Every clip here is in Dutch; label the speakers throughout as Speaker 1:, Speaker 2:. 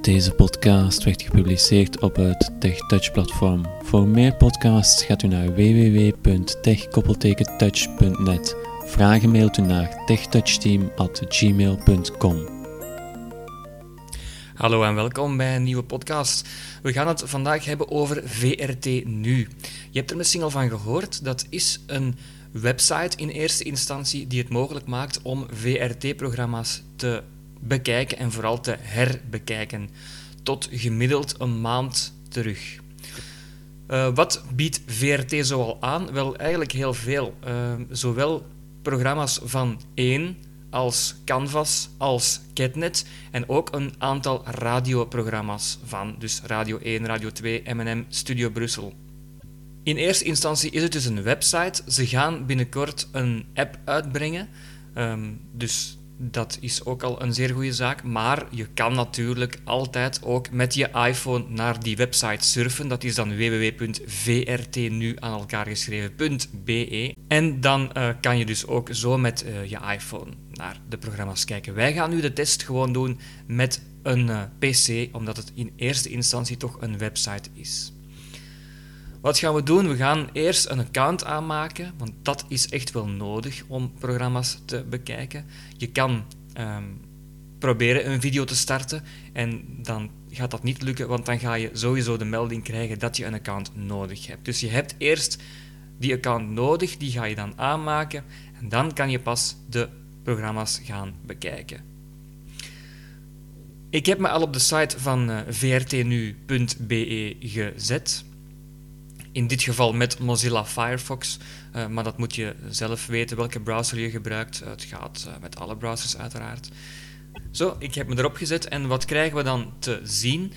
Speaker 1: Deze podcast werd gepubliceerd op het TechTouch-platform. Voor meer podcasts gaat u naar www.tech-touch.net. Vragen mailt u naar techtouchteam.gmail.com.
Speaker 2: Hallo en welkom bij een nieuwe podcast. We gaan het vandaag hebben over VRT Nu. Je hebt er misschien al van gehoord, dat is een website in eerste instantie die het mogelijk maakt om VRT-programma's te bekijken en vooral te herbekijken. Tot gemiddeld een maand terug. Eh, wat biedt VRT zoal aan? Wel, eigenlijk heel veel. Eh, zowel programma's van één als Canvas, als Catnet en ook een aantal radioprogramma's van. Dus Radio 1, Radio 2, M&M, Studio Brussel. In eerste instantie is het dus een website. Ze gaan binnenkort een app uitbrengen. Ehm, dus dat is ook al een zeer goede zaak. Maar je kan natuurlijk altijd ook met je iPhone naar die website surfen. Dat is dan www.vrtnu aan elkaar geschreven.be. En dan eh, kan je dus ook zo met eh, je iPhone naar de programma's kijken. Wij gaan nu de test gewoon doen met een eh, PC, omdat het in eerste instantie toch een website is. Wat gaan we doen? We gaan eerst een account aanmaken, want dat is echt wel nodig om programma's te bekijken. Je kan ehm, proberen een video te starten en dan gaat dat niet lukken, want dan ga je sowieso de melding krijgen dat je een account nodig hebt. Dus je hebt eerst die account nodig, die ga je dan aanmaken en dan kan je pas de programma's gaan bekijken. Ik heb me al op de site van eh, vrtnu.be E gezet. In dit geval met Mozilla Firefox, eh, maar dat moet je zelf weten welke browser je gebruikt. Het gaat eh, met alle browsers uiteraard. Zo, ik heb me erop gezet en wat krijgen we dan te zien?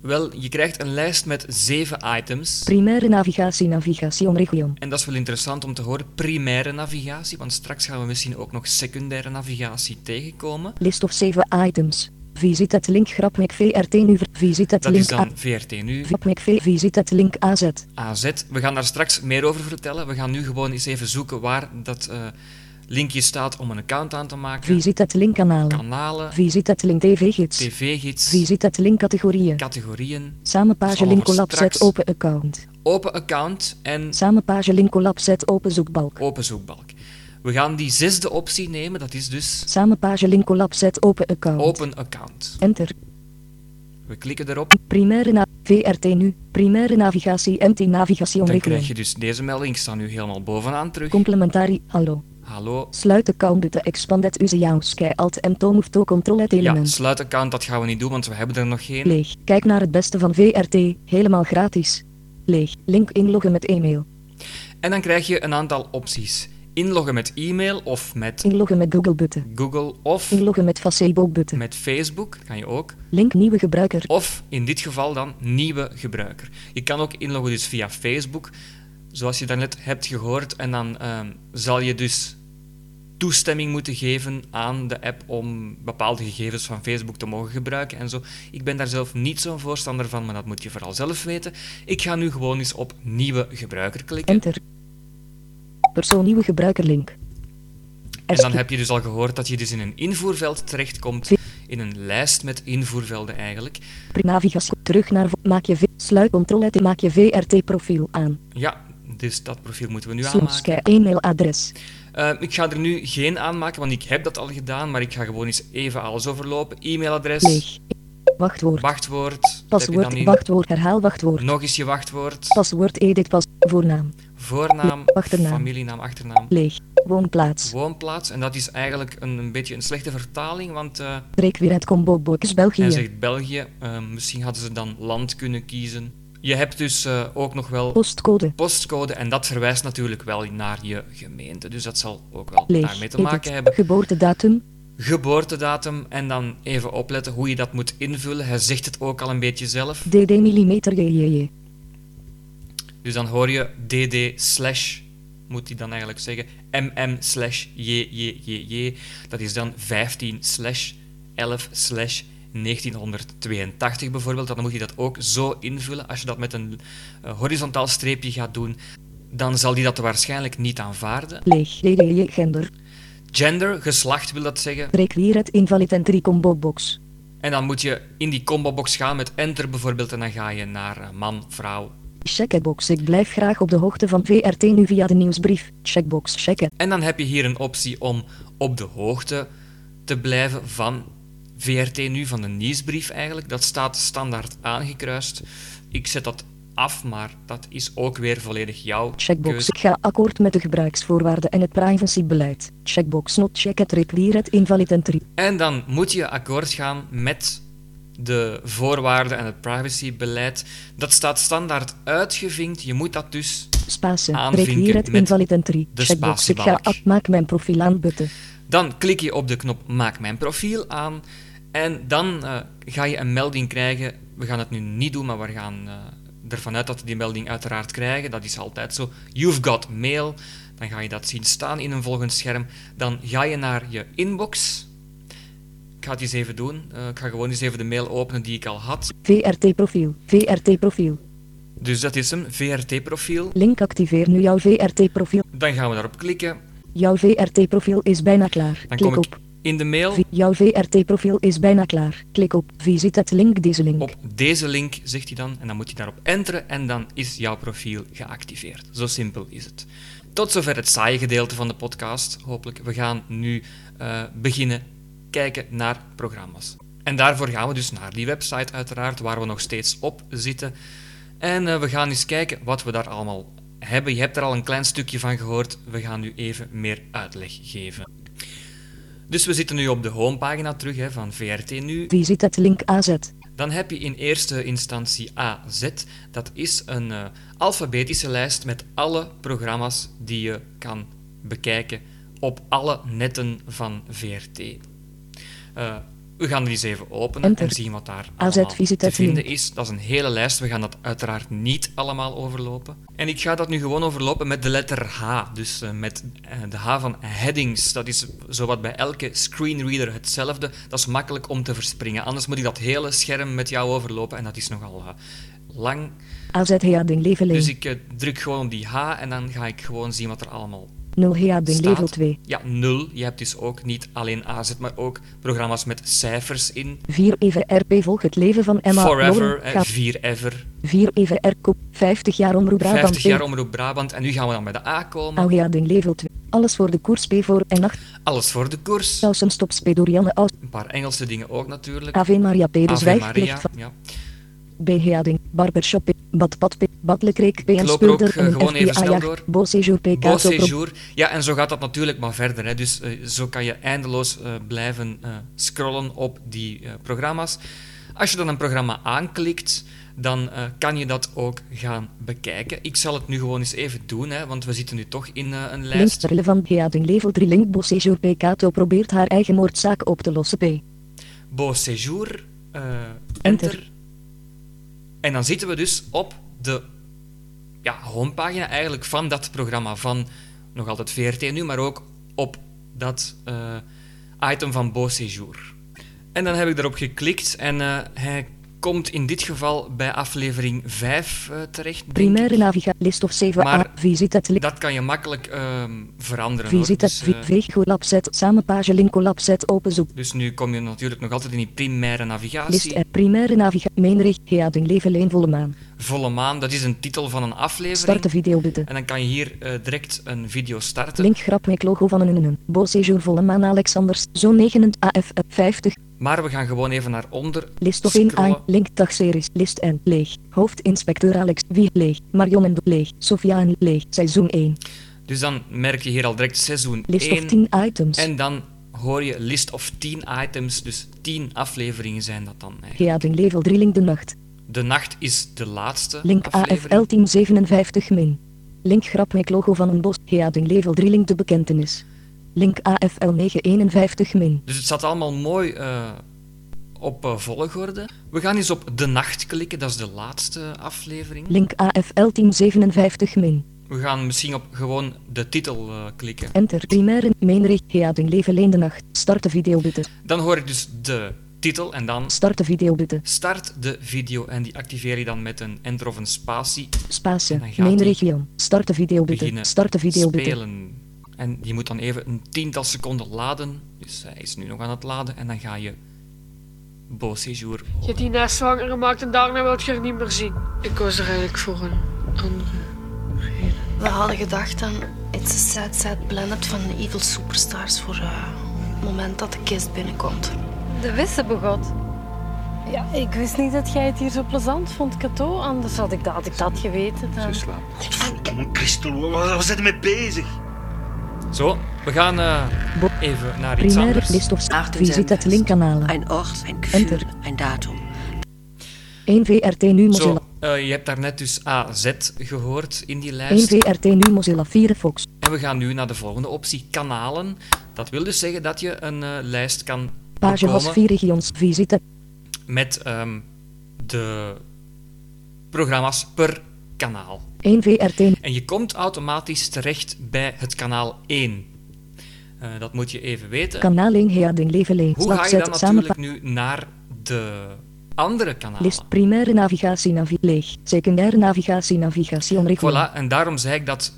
Speaker 2: Wel, je krijgt een lijst met zeven items.
Speaker 3: Primaire navigatie, navigación región.
Speaker 2: En dat is wel interessant om te horen, primaire navigatie, want straks gaan we misschien ook nog secundaire navigatie tegenkomen.
Speaker 3: List of 7 items. Visit het link grapmic VRT nu. ver- Visit het
Speaker 2: Dat is
Speaker 3: link A.
Speaker 2: dan VRT nu,
Speaker 3: Grapmic V. Visit het link AZ.
Speaker 2: AZ. We gaan daar straks meer over vertellen. We gaan nu gewoon eens even zoeken waar dat eh, linkje staat om een account aan te maken.
Speaker 3: Visit het link kanalen.
Speaker 2: Kanalen,
Speaker 3: Visit het link TV-gids.
Speaker 2: tv-gids,
Speaker 3: Visit het link categorieën.
Speaker 2: categorieën,
Speaker 3: Samenpage
Speaker 2: allemaal
Speaker 3: link collab
Speaker 2: straks.
Speaker 3: set open account.
Speaker 2: open account en
Speaker 3: Samenpage link collab set open zoekbalk.
Speaker 2: open zoekbalk. We gaan die zesde optie nemen, dat is dus
Speaker 3: Samenpage link collab set open account.
Speaker 2: open account.
Speaker 3: Enter.
Speaker 2: We klikken erop.
Speaker 3: Primaire na VRT nu. Primaire navigatie MT navigación
Speaker 2: Dan krijg
Speaker 3: región.
Speaker 2: je dus deze melding. Ik sta nu helemaal bovenaan terug.
Speaker 3: Complementari. Hallo.
Speaker 2: Hallo,
Speaker 3: Sluit de account te expanded Uzejauske alt en to control het
Speaker 2: Ja,
Speaker 3: element.
Speaker 2: sluit account, dat gaan we niet doen, want we hebben er nog geen.
Speaker 3: Leeg. Kijk naar het beste van VRT, helemaal gratis. Leeg. Link inloggen met e-mail.
Speaker 2: En dan krijg je een aantal opties. Inloggen met e-mail of met
Speaker 3: Inloggen met Google Butten.
Speaker 2: Google of
Speaker 3: Inloggen met Facebook Butten.
Speaker 2: met Facebook, dat kan je ook.
Speaker 3: Link nieuwe gebruiker.
Speaker 2: Of in dit geval dan nieuwe gebruiker. Je kan ook inloggen dus via Facebook, zoals je daarnet hebt gehoord. En dan ehm, zal je dus toestemming moeten geven aan de app om bepaalde gegevens van Facebook te mogen gebruiken en zo. Ik ben daar zelf niet zo'n voorstander van, maar dat moet je vooral zelf weten. Ik ga nu gewoon eens op nieuwe gebruiker klikken.
Speaker 3: Enter. Persoon nieuwe gebruiker link.
Speaker 2: En dan heb je dus al gehoord dat je dus in een invoerveld terechtkomt. In een lijst met invoervelden eigenlijk.
Speaker 3: Navigatie. Terug naar vo- maak je v- sluit control uit en maak je VRT profiel aan.
Speaker 2: Ja, dus dat profiel moeten we nu aanmaken.
Speaker 3: Slomske e-mailadres.
Speaker 2: Eh, ik ga er nu geen aanmaken, want ik heb dat al gedaan. Maar ik ga gewoon eens even alles overlopen. E-mailadres,
Speaker 3: Leeg. Wachtwoord.
Speaker 2: wachtwoord. dat heb
Speaker 3: Paswoord.
Speaker 2: je dan in.
Speaker 3: Wachtwoord. Herhaal wachtwoord.
Speaker 2: Nog eens je wachtwoord.
Speaker 3: Paswoord edit pas. Voornaam.
Speaker 2: Voornaam,
Speaker 3: Achternaam.
Speaker 2: familienaam, achternaam.
Speaker 3: Leeg. Woonplaats.
Speaker 2: Woonplaats. En dat is eigenlijk een, een beetje een slechte vertaling, want eh
Speaker 3: Requiret combo box
Speaker 2: hij
Speaker 3: België.
Speaker 2: zegt België. Eh, misschien hadden ze dan land kunnen kiezen. Je hebt dus eh, ook nog wel
Speaker 3: Postcode.
Speaker 2: postcode en dat verwijst natuurlijk wel naar je gemeente. Dus dat zal ook wel
Speaker 3: Leeg.
Speaker 2: daarmee te
Speaker 3: Edit.
Speaker 2: maken hebben.
Speaker 3: Geboortedatum.
Speaker 2: Geboortedatum en dan even opletten hoe je dat moet invullen. Hij zegt het ook al een beetje zelf.
Speaker 3: DD millimeter JJJ.
Speaker 2: Dus dan hoor je DD slash, moet hij dan eigenlijk zeggen, MM slash JJJJ. Dat is dan 15 slash 11 slash 1982 bijvoorbeeld. Dan moet je dat ook zo invullen. Als je dat met een eh, horizontaal streepje gaat doen, dan zal hij dat waarschijnlijk niet aanvaarden.
Speaker 3: Leeg. DDJ gender.
Speaker 2: Gender, geslacht wil dat zeggen.
Speaker 3: Requiret invalid entry combo box.
Speaker 2: En dan moet je in die combobox gaan met enter bijvoorbeeld en dan ga je naar eh, man, vrouw.
Speaker 3: Checkbox. Ik blijf graag op de hoogte van VRT nu via de nieuwsbrief. Checkbox checken.
Speaker 2: En dan heb je hier een optie om op de hoogte te blijven van VRT nu, van de nieuwsbrief eigenlijk. Dat staat standaard aangekruist. Ik zet dat af, maar dat is ook weer volledig jouw
Speaker 3: Checkbox.
Speaker 2: keuze.
Speaker 3: Ik ga akkoord met de gebruiksvoorwaarden en het privacybeleid. Checkbox not check it replier het invalid entry.
Speaker 2: En dan moet je akkoord gaan met de voorwaarden en het privacybeleid. Dat staat standaard uitgevinkt. Je moet dat dus.
Speaker 3: Spasen.
Speaker 2: Aanvinken
Speaker 3: Replier het
Speaker 2: met
Speaker 3: invalid entry.
Speaker 2: de
Speaker 3: Checkbox. Ik ga
Speaker 2: spatiebalk.
Speaker 3: ak- maak mijn profiel aanbutten.
Speaker 2: Dan klik je op de knop Maak mijn profiel aan. En dan eh, ga je een melding krijgen. We gaan het nu niet doen, maar we gaan eh, ervan uit dat we die melding uiteraard krijgen. Dat is altijd zo. You've got mail. Dan ga je dat zien staan in een volgend scherm. Dan ga je naar je inbox. Ik ga het eens even doen. Eh, ik ga gewoon eens even de mail openen die ik al had.
Speaker 3: VRT profiel. VRT profiel.
Speaker 2: Dus dat is hem, VRT-profiel.
Speaker 3: Link activeer nu jouw VRT profiel.
Speaker 2: Dan gaan we daarop klikken.
Speaker 3: Jouw VRT profiel is bijna klaar.
Speaker 2: Dan
Speaker 3: Klik
Speaker 2: kom
Speaker 3: op.
Speaker 2: ik in de mail.
Speaker 3: Vi- Jouw VRT-profiel is bijna klaar. Klik op Visit het link deze link.
Speaker 2: Op deze link zegt hij dan, en dan moet je daarop enteren en dan is jouw profiel geactiveerd. Zo simpel is het. Tot zover het saaie gedeelte van de podcast. Hopelijk, we gaan nu eh, beginnen kijken naar programma's. En daarvoor gaan we dus naar die website uiteraard, waar we nog steeds op zitten. En eh, we gaan eens kijken wat we daar allemaal hebben. Je hebt er al een klein stukje van gehoord. We gaan nu even meer uitleg geven. Dus we zitten nu op de homepagina terug hè, van VRT nu.
Speaker 3: Visit het link AZ.
Speaker 2: Dan heb je in eerste instantie AZ. Dat is een eh, alfabetische lijst met alle programma's die je kan bekijken op alle netten van VRT. Eh, we gaan die eens even openen
Speaker 3: Enter.
Speaker 2: en zien wat daar
Speaker 3: AZ
Speaker 2: allemaal
Speaker 3: visite
Speaker 2: te vinden
Speaker 3: link.
Speaker 2: is. Dat is een hele lijst. We gaan dat uiteraard niet allemaal overlopen. En ik ga dat nu gewoon overlopen met de letter H. Dus eh, met eh, de H van headings. Dat is zowat bij elke screenreader hetzelfde. Dat is makkelijk om te verspringen. Anders moet ik dat hele scherm met jou overlopen. En dat is nogal eh, lang.
Speaker 3: AZ Heading Level 1.
Speaker 2: Dus ik eh, druk gewoon op die H en dan ga ik gewoon zien wat er allemaal
Speaker 3: 0 Heading
Speaker 2: staat.
Speaker 3: Level 2.
Speaker 2: Ja, 0. Je hebt dus ook niet alleen AZ, maar ook programma's met cijfers in.
Speaker 3: 4 even RP volg het leven van Emma
Speaker 2: Forever,
Speaker 3: Loren.
Speaker 2: eh,
Speaker 3: Ga-
Speaker 2: 4 ever.
Speaker 3: 4 even R kop. 50 jaar omroep Brabant
Speaker 2: 50
Speaker 3: B.
Speaker 2: jaar Omroep Brabant. En nu gaan we dan bij de A komen.
Speaker 3: Oude Heading Level 2. Alles voor de koers B voor en 8.
Speaker 2: Alles voor de koers.
Speaker 3: Sausen stops P door Janne Aus.
Speaker 2: Een paar Engelse dingen ook natuurlijk.
Speaker 3: Ave Maria P. De
Speaker 2: Ave
Speaker 3: zwijgplicht
Speaker 2: Maria.
Speaker 3: dus van
Speaker 2: Ja.
Speaker 3: B. Heading. Barbershop P. Badpad P. Badlekreek P.
Speaker 2: loop
Speaker 3: En
Speaker 2: er ook,
Speaker 3: Spulder
Speaker 2: eh,
Speaker 3: en
Speaker 2: gewoon even
Speaker 3: FBA
Speaker 2: snel
Speaker 3: jacht.
Speaker 2: door.
Speaker 3: Beau séjour P.
Speaker 2: Bon
Speaker 3: Kato Pro-
Speaker 2: séjour. Ja, en zo gaat dat natuurlijk maar verder. Hè. Dus eh, zo kan je eindeloos eh, blijven eh, scrollen op die eh, programma's. Als je dan een programma aanklikt, dan eh, kan je dat ook gaan bekijken. Ik zal het nu gewoon eens even doen, hè, want we zitten nu toch in eh, een lijst.
Speaker 3: Linkster van Heading Level 3 Link Beau séjour P. Kato probeert haar eigen moordzaak op te lossen P.
Speaker 2: Beau séjour, eh,
Speaker 3: Enter.
Speaker 2: enter. En dan zitten we dus op de ja, homepagina eigenlijk van dat programma, van nog altijd VRT nu, maar ook op dat eh, item van Beau séjour. En dan heb ik erop geklikt en eh, hij komt in dit geval bij aflevering 5 eh, terecht. denk
Speaker 3: Primaire
Speaker 2: ik.
Speaker 3: naviga list of 7a
Speaker 2: Maar
Speaker 3: visit het link
Speaker 2: Dat kan je makkelijk ehm, veranderen. hoor.
Speaker 3: visit het
Speaker 2: Dus,
Speaker 3: vi-
Speaker 2: eh,
Speaker 3: veeg collab set samen page link collab set openzoek
Speaker 2: dus nu kom je natuurlijk nog altijd in die primaire navigatie.
Speaker 3: list er primaire naviga mainrig heading leven leen volle maan
Speaker 2: Volle maan, dat is een titel van een aflevering.
Speaker 3: start de video button
Speaker 2: En dan kan je hier eh, direct een video starten.
Speaker 3: link grap met logo van een een bo séjour volle maan Alexanders zo'n 9 AF 50
Speaker 2: Maar we gaan gewoon even naar onder.
Speaker 3: list of 1
Speaker 2: scrollen.
Speaker 3: a link dagseries list en leeg hoofdinspecteur Alex wie leeg Marion en leeg Sofia en leeg seizoen 1
Speaker 2: Dus dan merk je hier al direct seizoen
Speaker 3: list
Speaker 2: 1.
Speaker 3: of 10 items
Speaker 2: En dan hoor je list of 10 items. Dus 10 afleveringen zijn dat dan. Eigenlijk.
Speaker 3: heading level 3 link de nacht
Speaker 2: De nacht is de laatste
Speaker 3: Link
Speaker 2: aflevering.
Speaker 3: AFL 1057 min. Link grap met logo van een bos. Heading level 3 link de bekentenis. Link AFL 951 min.
Speaker 2: Dus het staat allemaal mooi eh, op eh, volgorde. We gaan eens op de nacht klikken. Dat is de laatste aflevering.
Speaker 3: Link AFL 1057 min.
Speaker 2: We gaan misschien op gewoon de titel eh, klikken.
Speaker 3: Enter primaire mainrig. Heading level 1 de nacht. Start de videobutton.
Speaker 2: Dan hoor ik dus de titel en dan
Speaker 3: Start de videobutton.
Speaker 2: Start de video en die activeer je dan met een enter of een spatie
Speaker 3: Spasen.
Speaker 2: Dan gaat
Speaker 3: Mainrig Jan. Start de videobutton.
Speaker 2: beginnen
Speaker 3: Start de videobutton.
Speaker 2: spelen. En die moet dan even een tiental seconden laden. Dus hij is nu nog aan het laden en dan ga je Beau séjour.
Speaker 4: Je hebt die nest zwanger gemaakt en daarna wilt je er niet meer zien.
Speaker 5: Ik was er eigenlijk voor een andere.
Speaker 6: We hadden gedacht aan It's a Sad Sad Planet van de Evil Superstars voor eh, het moment dat de kist binnenkomt.
Speaker 7: De wissenbegot. Ja, ik wist niet dat jij het hier zo plezant vond, Cato. Anders had ik dat, had ik dat geweten. Dan.
Speaker 8: Godverdomme, Christel, waar waar zijn we mee bezig?
Speaker 2: Zo, we gaan eh,
Speaker 3: Bo-
Speaker 2: even naar iets
Speaker 3: Primaire
Speaker 2: anders.
Speaker 3: list of
Speaker 9: Achten
Speaker 3: visit
Speaker 9: zenders.
Speaker 3: het linkkanalen.
Speaker 9: Ein Ort, ein
Speaker 3: Enter.
Speaker 9: Gefühl, ein Datum.
Speaker 3: 1 VRT nu
Speaker 2: Zo,
Speaker 3: Mozilla.
Speaker 2: eh, je hebt daarnet dus AZ gehoord in die
Speaker 3: 1
Speaker 2: lijst.
Speaker 3: VRT nu Mozilla Firefox.
Speaker 2: En we gaan nu naar de volgende optie, kanalen. Dat wil dus zeggen dat je een eh, lijst kan
Speaker 3: Page was
Speaker 2: bekomen
Speaker 3: 4 regions visite.
Speaker 2: met ehm, de programma's per kanaal.
Speaker 3: 1 VRT nu-
Speaker 2: En je komt automatisch terecht bij het kanaal 1. Eh, dat moet je even weten.
Speaker 3: kanaal 1 Heading Leveling.
Speaker 2: Hoe ga je dan
Speaker 3: Slagzet
Speaker 2: natuurlijk Ah.
Speaker 3: samenpa-
Speaker 2: nu naar de andere kanalen?
Speaker 3: List primaire navigatie navi leeg. Secundaire navigatie navigatie onregel.
Speaker 2: Voilà, en daarom zei ik dat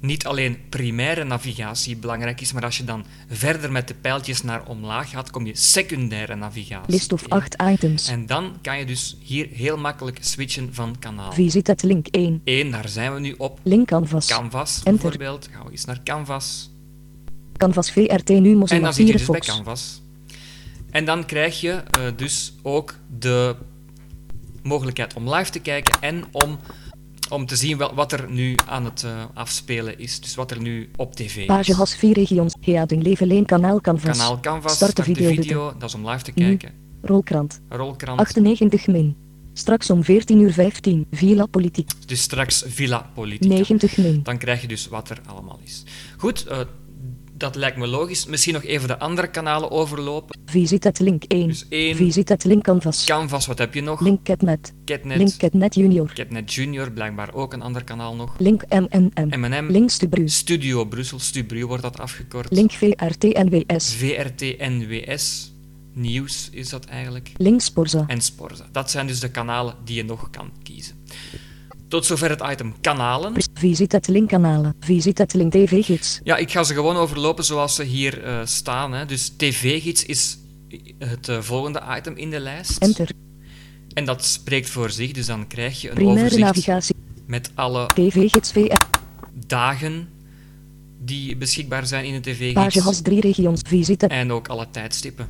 Speaker 2: niet alleen primaire navigatie belangrijk is, maar als je dan verder met de pijltjes naar omlaag gaat, kom je secundaire navigatie.
Speaker 3: List of
Speaker 2: tegen.
Speaker 3: 8 items.
Speaker 2: En dan kan je dus hier heel makkelijk switchen van kanaal.
Speaker 3: Visit het link 1.
Speaker 2: 1, daar zijn we nu op.
Speaker 3: Link canvas.
Speaker 2: Canvas
Speaker 3: Enter.
Speaker 2: bijvoorbeeld. Gaan we eens naar Canvas.
Speaker 3: Canvas VRT nu
Speaker 2: En
Speaker 3: Mozilla
Speaker 2: dan zit je dus bij
Speaker 3: Firefox.
Speaker 2: Canvas. En dan krijg je eh, dus ook de mogelijkheid om live te kijken en om, om te zien wel, wat er nu aan het eh, afspelen is. Dus wat er nu op tv is.
Speaker 3: Page has 4 regions. Heading Leveling kanaal canvas.
Speaker 2: Kanaal Canvas,
Speaker 3: Start de video.
Speaker 2: dat is om live te
Speaker 3: Nu.
Speaker 2: kijken.
Speaker 3: Rolkrant.
Speaker 2: Rolkrant,
Speaker 3: 98 min. Straks om 14 uur 15. Villa Politiek.
Speaker 2: dus straks Villa Politica.
Speaker 3: 90 min.
Speaker 2: Dan krijg je dus wat er allemaal is. Goed, eh, dat lijkt me logisch. Misschien nog even de andere kanalen overlopen.
Speaker 3: Visit het link 1.
Speaker 2: Dus één.
Speaker 3: Visit het link canvas.
Speaker 2: Canvas, wat heb je nog?
Speaker 3: Link Catnet.
Speaker 2: Catnet.
Speaker 3: Link Catnet Junior.
Speaker 2: Catnet Junior, blijkbaar ook een ander kanaal nog.
Speaker 3: Link MMM.
Speaker 2: M&M.
Speaker 3: Link Stubru.
Speaker 2: Studio Brussel, Stubru wordt dat afgekort.
Speaker 3: Link VRT NWS.
Speaker 2: VRT-NWS, nieuws is dat eigenlijk.
Speaker 3: Link Sporza.
Speaker 2: En Sporza. Dat zijn dus de kanalen die je nog kan kiezen. Tot zover het item kanalen.
Speaker 3: Visit het link kanalen. Visit het link TV gids.
Speaker 2: Ja, ik ga ze gewoon overlopen zoals ze hier eh, staan. Hè. Dus tv-gids is het eh, volgende item in de lijst.
Speaker 3: Enter.
Speaker 2: En dat spreekt voor zich, dus dan krijg je een
Speaker 3: Primaire
Speaker 2: overzicht
Speaker 3: navigatie.
Speaker 2: met alle
Speaker 3: TV gids VR.
Speaker 2: dagen die beschikbaar zijn in de
Speaker 3: Page has
Speaker 2: tv-gids.
Speaker 3: 3 regions. Visit het
Speaker 2: En ook alle tijdstippen.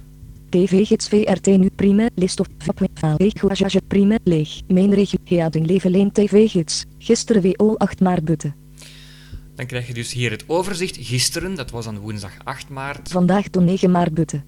Speaker 3: TV gids VRT nu primair list of vap Goajage primair leeg. Mijn regio Heading Leveleen TV gids. Gisteren WO 8 maart butte.
Speaker 2: Dan krijg je dus hier het overzicht. Gisteren, dat was dan woensdag 8 maart,
Speaker 3: Vandaag toen 9 maart butte.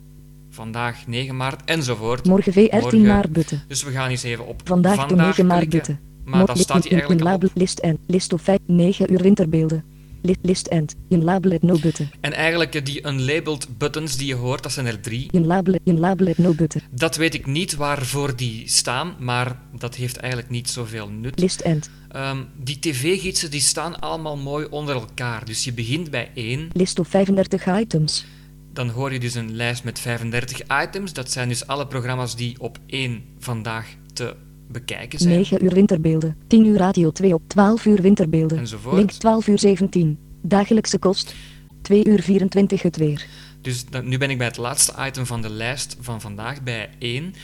Speaker 2: vandaag 9 maart enzovoort.
Speaker 3: Morgen
Speaker 2: Morgen.
Speaker 3: V13 maart butte.
Speaker 2: Dus we gaan eens even op
Speaker 3: Vandaag, de 9 maart
Speaker 2: klikken.
Speaker 3: butte.
Speaker 2: Maar dan
Speaker 3: Not
Speaker 2: staat hij
Speaker 3: in- in- in
Speaker 2: eigenlijk al
Speaker 3: label
Speaker 2: op.
Speaker 3: list en list of 5 9 uur winterbeelden. List, list end. In label het no butte.
Speaker 2: En eigenlijk eh, die unlabeled buttons die je hoort, dat zijn er drie.
Speaker 3: In label in label het no butte.
Speaker 2: Dat weet ik niet waarvoor die staan, maar dat heeft eigenlijk niet zoveel nut.
Speaker 3: List end.
Speaker 2: Ehm, die tv-gidsen die staan allemaal mooi onder elkaar. Dus je begint bij één,
Speaker 3: List of 35 items.
Speaker 2: dan hoor je dus een lijst met 35 items. Dat zijn dus alle programma's die op één vandaag te bekijken zijn.
Speaker 3: 9 uur winterbeelden. 10 uur radio 2 op 12 uur winterbeelden.
Speaker 2: Enzovoort.
Speaker 3: Link 12 uur 17. Dagelijkse kost. 2 uur 24 het weer.
Speaker 2: Dus dan- nu ben ik bij het laatste item van de lijst van vandaag, bij 1.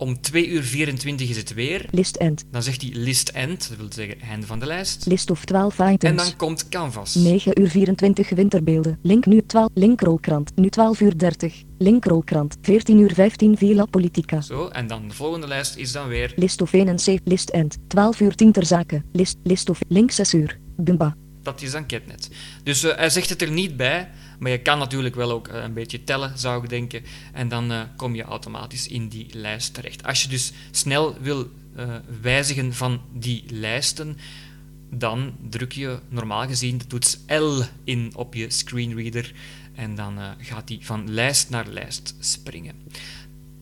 Speaker 2: Om 2 uur 24 is het weer.
Speaker 3: List end.
Speaker 2: Dan zegt hij list end, dat wil zeggen einde van de lijst.
Speaker 3: List of 12 items.
Speaker 2: En dan komt Canvas.
Speaker 3: 9 uur 24 winterbeelden. Link nu 12. Link rolkrant. Nu 12 uur 30. Link rolkrant. 14 uur 15 Villa Politica.
Speaker 2: Zo, en dan de volgende lijst is dan weer
Speaker 3: List of 1 en 7. List end. 12 uur 10 ter zake. List, list of link 6 uur. Bumba.
Speaker 2: Dat is dan Ketnet. Dus eh, hij zegt het er niet bij, maar je kan natuurlijk wel ook eh, een beetje tellen, zou ik denken. En dan eh, kom je automatisch in die lijst terecht. Als je dus snel wil eh, wijzigen van die lijsten, dan druk je normaal gezien de toets L in op je screenreader. En dan eh, gaat die van lijst naar lijst springen.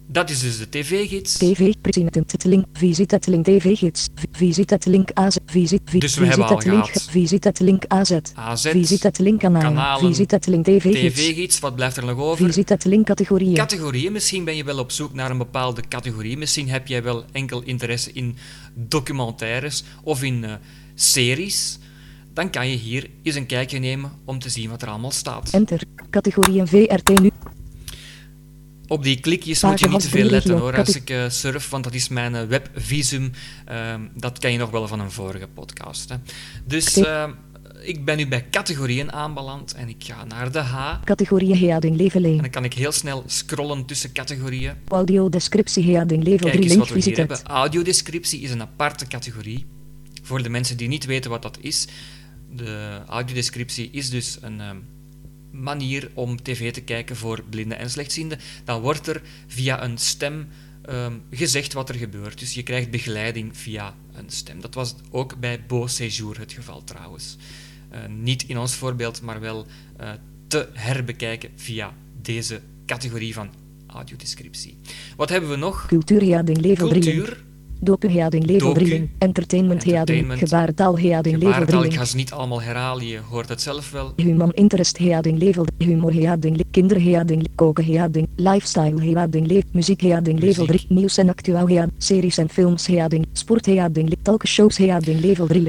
Speaker 2: Dat is dus de tv-gids.
Speaker 3: TV. President. Het link. Visit het link TV gids. Vi- Visit het link AZ. Visit, vi-
Speaker 2: Dus we
Speaker 3: visit
Speaker 2: hebben al
Speaker 3: het link.
Speaker 2: gehad.
Speaker 3: Visit het link AZ.
Speaker 2: AZ,
Speaker 3: Visit het link kanaal.
Speaker 2: kanalen,
Speaker 3: Visit het link TV gids.
Speaker 2: tv-gids, wat blijft er nog over?
Speaker 3: Visit het link categorieën.
Speaker 2: Categorieën, misschien ben je wel op zoek naar een bepaalde categorie. Misschien heb jij wel enkel interesse in documentaires of in eh, series. Dan kan je hier eens een kijkje nemen om te zien wat er allemaal staat.
Speaker 3: Enter. Categorieën VRT nu.
Speaker 2: Op die klikjes
Speaker 3: Page
Speaker 2: moet je niet te
Speaker 3: half
Speaker 2: veel
Speaker 3: drie
Speaker 2: letten
Speaker 3: regio,
Speaker 2: hoor, als
Speaker 3: kapi-
Speaker 2: ik eh, surf, want dat is mijn eh, webvisum. Ehm, dat ken je nog wel van een vorige podcast. Hè. Dus
Speaker 3: Oké.
Speaker 2: ehm, ik ben nu bij categorieën aanbeland en ik ga naar de H.
Speaker 3: Categorieën Heading level
Speaker 2: En
Speaker 3: 1.
Speaker 2: dan kan ik heel snel scrollen tussen categorieën.
Speaker 3: Audiodescriptie Heading level
Speaker 2: Kijk
Speaker 3: 3
Speaker 2: eens
Speaker 3: link
Speaker 2: wat we hier
Speaker 3: visited.
Speaker 2: hebben. Audiodescriptie is een aparte categorie. Voor de mensen die niet weten wat dat is. De audiodescriptie is dus een ehm, manier om tv te kijken voor blinden en slechtzienden. Dan wordt er via een stem ehm, gezegd wat er gebeurt. Dus je krijgt begeleiding via een stem. Dat was ook bij Beau Séjour het geval trouwens. Eh, niet in ons voorbeeld, maar wel eh, te herbekijken via deze categorie van audiodescriptie. Wat hebben we nog?
Speaker 3: Cultuur Heading level 3 link.
Speaker 2: Cultuur,
Speaker 3: Docu Heading level
Speaker 2: Docu.
Speaker 3: 3 link. Entertainment Heading.
Speaker 2: Entertainment.
Speaker 3: Gebarentaal Heading level 3
Speaker 2: gebarentaal, ik
Speaker 3: link.
Speaker 2: ga ze niet allemaal herhalen, je hoort het zelf wel.
Speaker 3: Human Interest Heading level Humor Heading Kinder Heading Koken Heading Lifestyle Heading Muziek Heading level 3 Nieuws en actueel Heading Series en films Heading Sport Heading Talkshows Heading level 3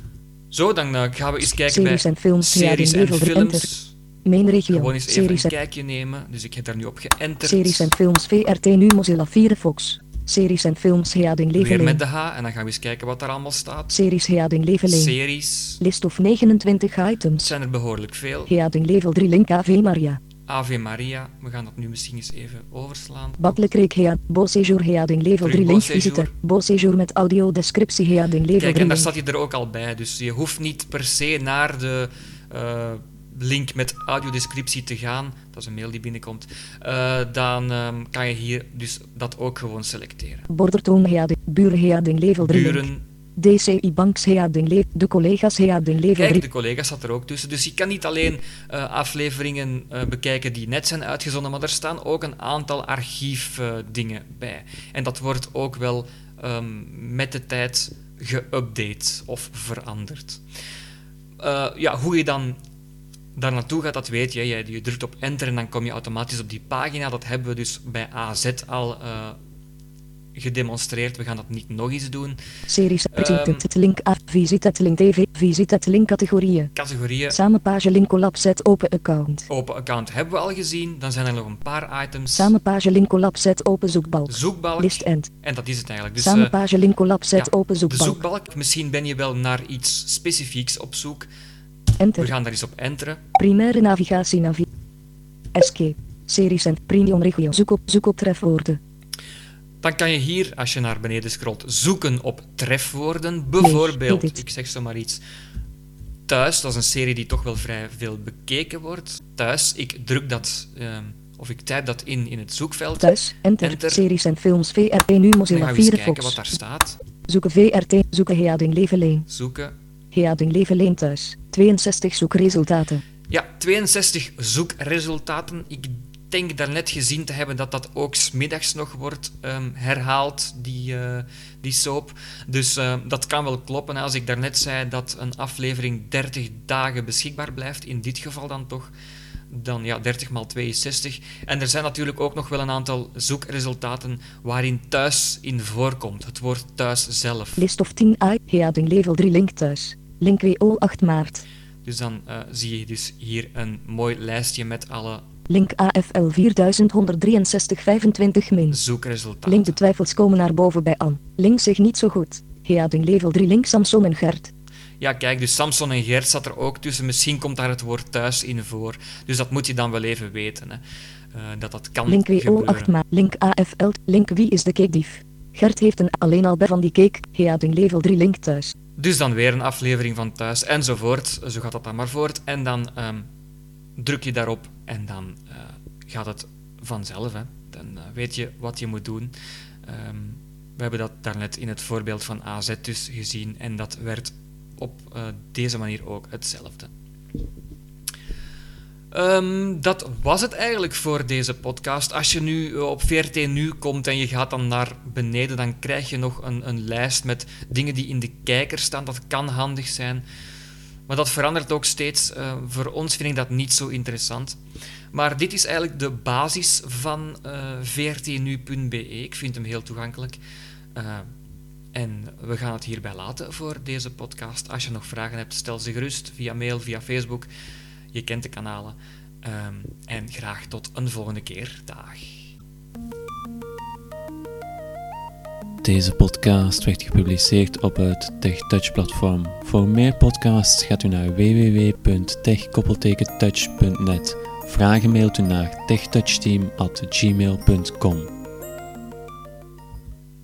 Speaker 2: Zo, dan eh, gaan we eens kijken bij
Speaker 3: Series en films
Speaker 2: series
Speaker 3: Heading
Speaker 2: en
Speaker 3: level 3 Enter
Speaker 2: films.
Speaker 3: Mijn regio
Speaker 2: Gewoon eens even
Speaker 3: Series
Speaker 2: een
Speaker 3: en
Speaker 2: kijkje nemen. Dus ik heb daar nu op geënterd.
Speaker 3: Series en films VRT nu Mozilla Firefox. Series en films Heading
Speaker 2: Weer met
Speaker 3: Leveling.
Speaker 2: de H. En dan gaan we eens kijken wat daar allemaal staat.
Speaker 3: Series Heading Leveling.
Speaker 2: Series.
Speaker 3: List of 29
Speaker 2: Het
Speaker 3: items.
Speaker 2: zijn er behoorlijk veel.
Speaker 3: Heading Level 3 Link AV Maria.
Speaker 2: Ave Maria. We gaan dat nu misschien eens even overslaan.
Speaker 3: Badlekreek Head. Beau Séjour Heading Level
Speaker 2: Terug
Speaker 3: 3
Speaker 2: Beau
Speaker 3: Link
Speaker 2: Séjour.
Speaker 3: Visite. Beau Séjour met audiodescriptie Heading Level
Speaker 2: Kijk, en
Speaker 3: 3
Speaker 2: daar
Speaker 3: link.
Speaker 2: staat hij er ook al bij. Dus je hoeft niet per se naar de eh, link met audiodescriptie te gaan. Dat is een mail die binnenkomt. Eh, dan ehm, kan je hier dus dat ook gewoon selecteren.
Speaker 3: Bordertoon Heading. Buren Heading Level 3 link.
Speaker 2: Buren.
Speaker 3: DCI Banks Heading Level. De collega's Heading Level
Speaker 2: Kijk,
Speaker 3: 3.
Speaker 2: de collega staat er ook tussen. Dus je kan niet alleen eh, afleveringen eh, bekijken die net zijn uitgezonden, maar er staan ook een aantal archiefdingen bij. En dat wordt ook wel ehm, met de tijd geüpdate of veranderd. Eh, ja, hoe je dan daar naartoe gaat, dat weet je. Je, je drukt op enter en dan kom je automatisch op die pagina. Dat hebben we dus bij AZ al eh, gedemonstreerd. We gaan dat niet nog eens doen.
Speaker 3: Series.
Speaker 2: Ehm.
Speaker 3: Presented Link AV. Visite het Link TV. Visite het Link Categorieën.
Speaker 2: Categorieën.
Speaker 3: Samenpage Link Collab Set Open Account.
Speaker 2: Open account hebben we al gezien. Dan zijn er nog een paar items.
Speaker 3: Samenpage link collab set open zoekbalk.
Speaker 2: Zoekbalk.
Speaker 3: List end.
Speaker 2: En dat is het eigenlijk. Dus, eh,
Speaker 3: Samenpage link collab set
Speaker 2: ja,
Speaker 3: open
Speaker 2: de
Speaker 3: zoekbalk.
Speaker 2: zoekbalk. Misschien ben je wel naar iets specifieks op zoek. We
Speaker 3: Enter.
Speaker 2: gaan daar eens op enteren.
Speaker 3: Primaire navigatie navi. Escape. Series en premium regio. Zoek op zoek op trefwoorden.
Speaker 2: Dan kan je hier, als je naar beneden scrolt, zoeken op trefwoorden. Bijvoorbeeld,
Speaker 3: niet dit.
Speaker 2: ik zeg zomaar iets. Thuis, dat is een serie die toch wel vrij veel bekeken wordt. Thuis, ik druk dat, ehm, of ik typ dat in in het zoekveld.
Speaker 3: Thuis. Enter.
Speaker 2: Enter.
Speaker 3: Series en films VRT nu
Speaker 2: En dan
Speaker 3: Mozilla
Speaker 2: gaan we eens kijken wat
Speaker 3: Firefox.
Speaker 2: daar staat.
Speaker 3: Zoeken VRT. Zoeken Heading Leveleen.
Speaker 2: Zoeken.
Speaker 3: Heading Leveleen thuis. 62 zoekresultaten.
Speaker 2: Ja, 62 zoekresultaten. Ik denk daarnet gezien te hebben dat dat ook 's middags nog wordt ehm, herhaald, die, eh, die soap. Dus eh, dat kan wel kloppen. hè. Als ik daarnet zei dat een aflevering 30 dagen beschikbaar blijft, in dit geval dan toch, dan ja, 30 x 62. En er zijn natuurlijk ook nog wel een aantal zoekresultaten waarin thuis in voorkomt. Het woord thuis zelf.
Speaker 3: List of 10 i. Heading Level 3 link thuis. Link WO 8 maart.
Speaker 2: Dus dan eh, zie je dus hier een mooi lijstje met alle
Speaker 3: Link AFL 4163 25 min.
Speaker 2: zoekresultaten.
Speaker 3: Link de twijfels komen naar boven bij Anne. Link zich niet zo goed. Heading level 3 link Samson en Gert.
Speaker 2: Ja, kijk, dus Samson en Gert zat er ook tussen. Misschien komt daar het woord thuis in voor. Dus dat moet je dan wel even weten, hè. Eh, dat dat kan
Speaker 3: Link WO 8
Speaker 2: gebeuren.
Speaker 3: ma. Link AFL. Link wie is de cakedief? Gert heeft een alleen al bij van die cake. Heading level 3 link thuis.
Speaker 2: Dus dan weer een aflevering van thuis, enzovoort. Zo gaat dat dan maar voort. En dan ehm, druk je daarop en dan eh, gaat het vanzelf, hè. Dan eh, weet je wat je moet doen. Ehm, we hebben dat daarnet in het voorbeeld van AZ dus gezien. En dat werd op eh, deze manier ook hetzelfde. Ehm, dat was het eigenlijk voor deze podcast. Als je nu eh, op VRT Nu komt en je gaat dan naar beneden, dan krijg je nog een, een lijst met dingen die in de kijker staan. Dat kan handig zijn. Maar dat verandert ook steeds. Eh, voor ons vind ik dat niet zo interessant. Maar dit is eigenlijk de basis van eh, vrtnu.be. E. Ik vind hem heel toegankelijk. Eh, en we gaan het hierbij laten voor deze podcast. Als je nog vragen hebt, stel ze gerust via mail, via Facebook. Je kent de kanalen. Ehm, en graag tot een volgende keer. Dag.
Speaker 1: Deze podcast werd gepubliceerd op het TechTouch-platform. Voor meer podcasts gaat u naar www.tech-touch.net. Vragen mailt u naar techtouchteam.gmail.com.